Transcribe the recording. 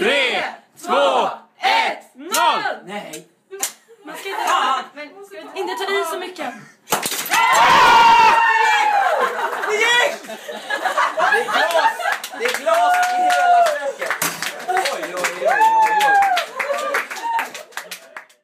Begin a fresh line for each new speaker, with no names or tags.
Tre, två, ett, noll!
Nej.
Man ska inte, men, inte ta i så mycket.
Det gick!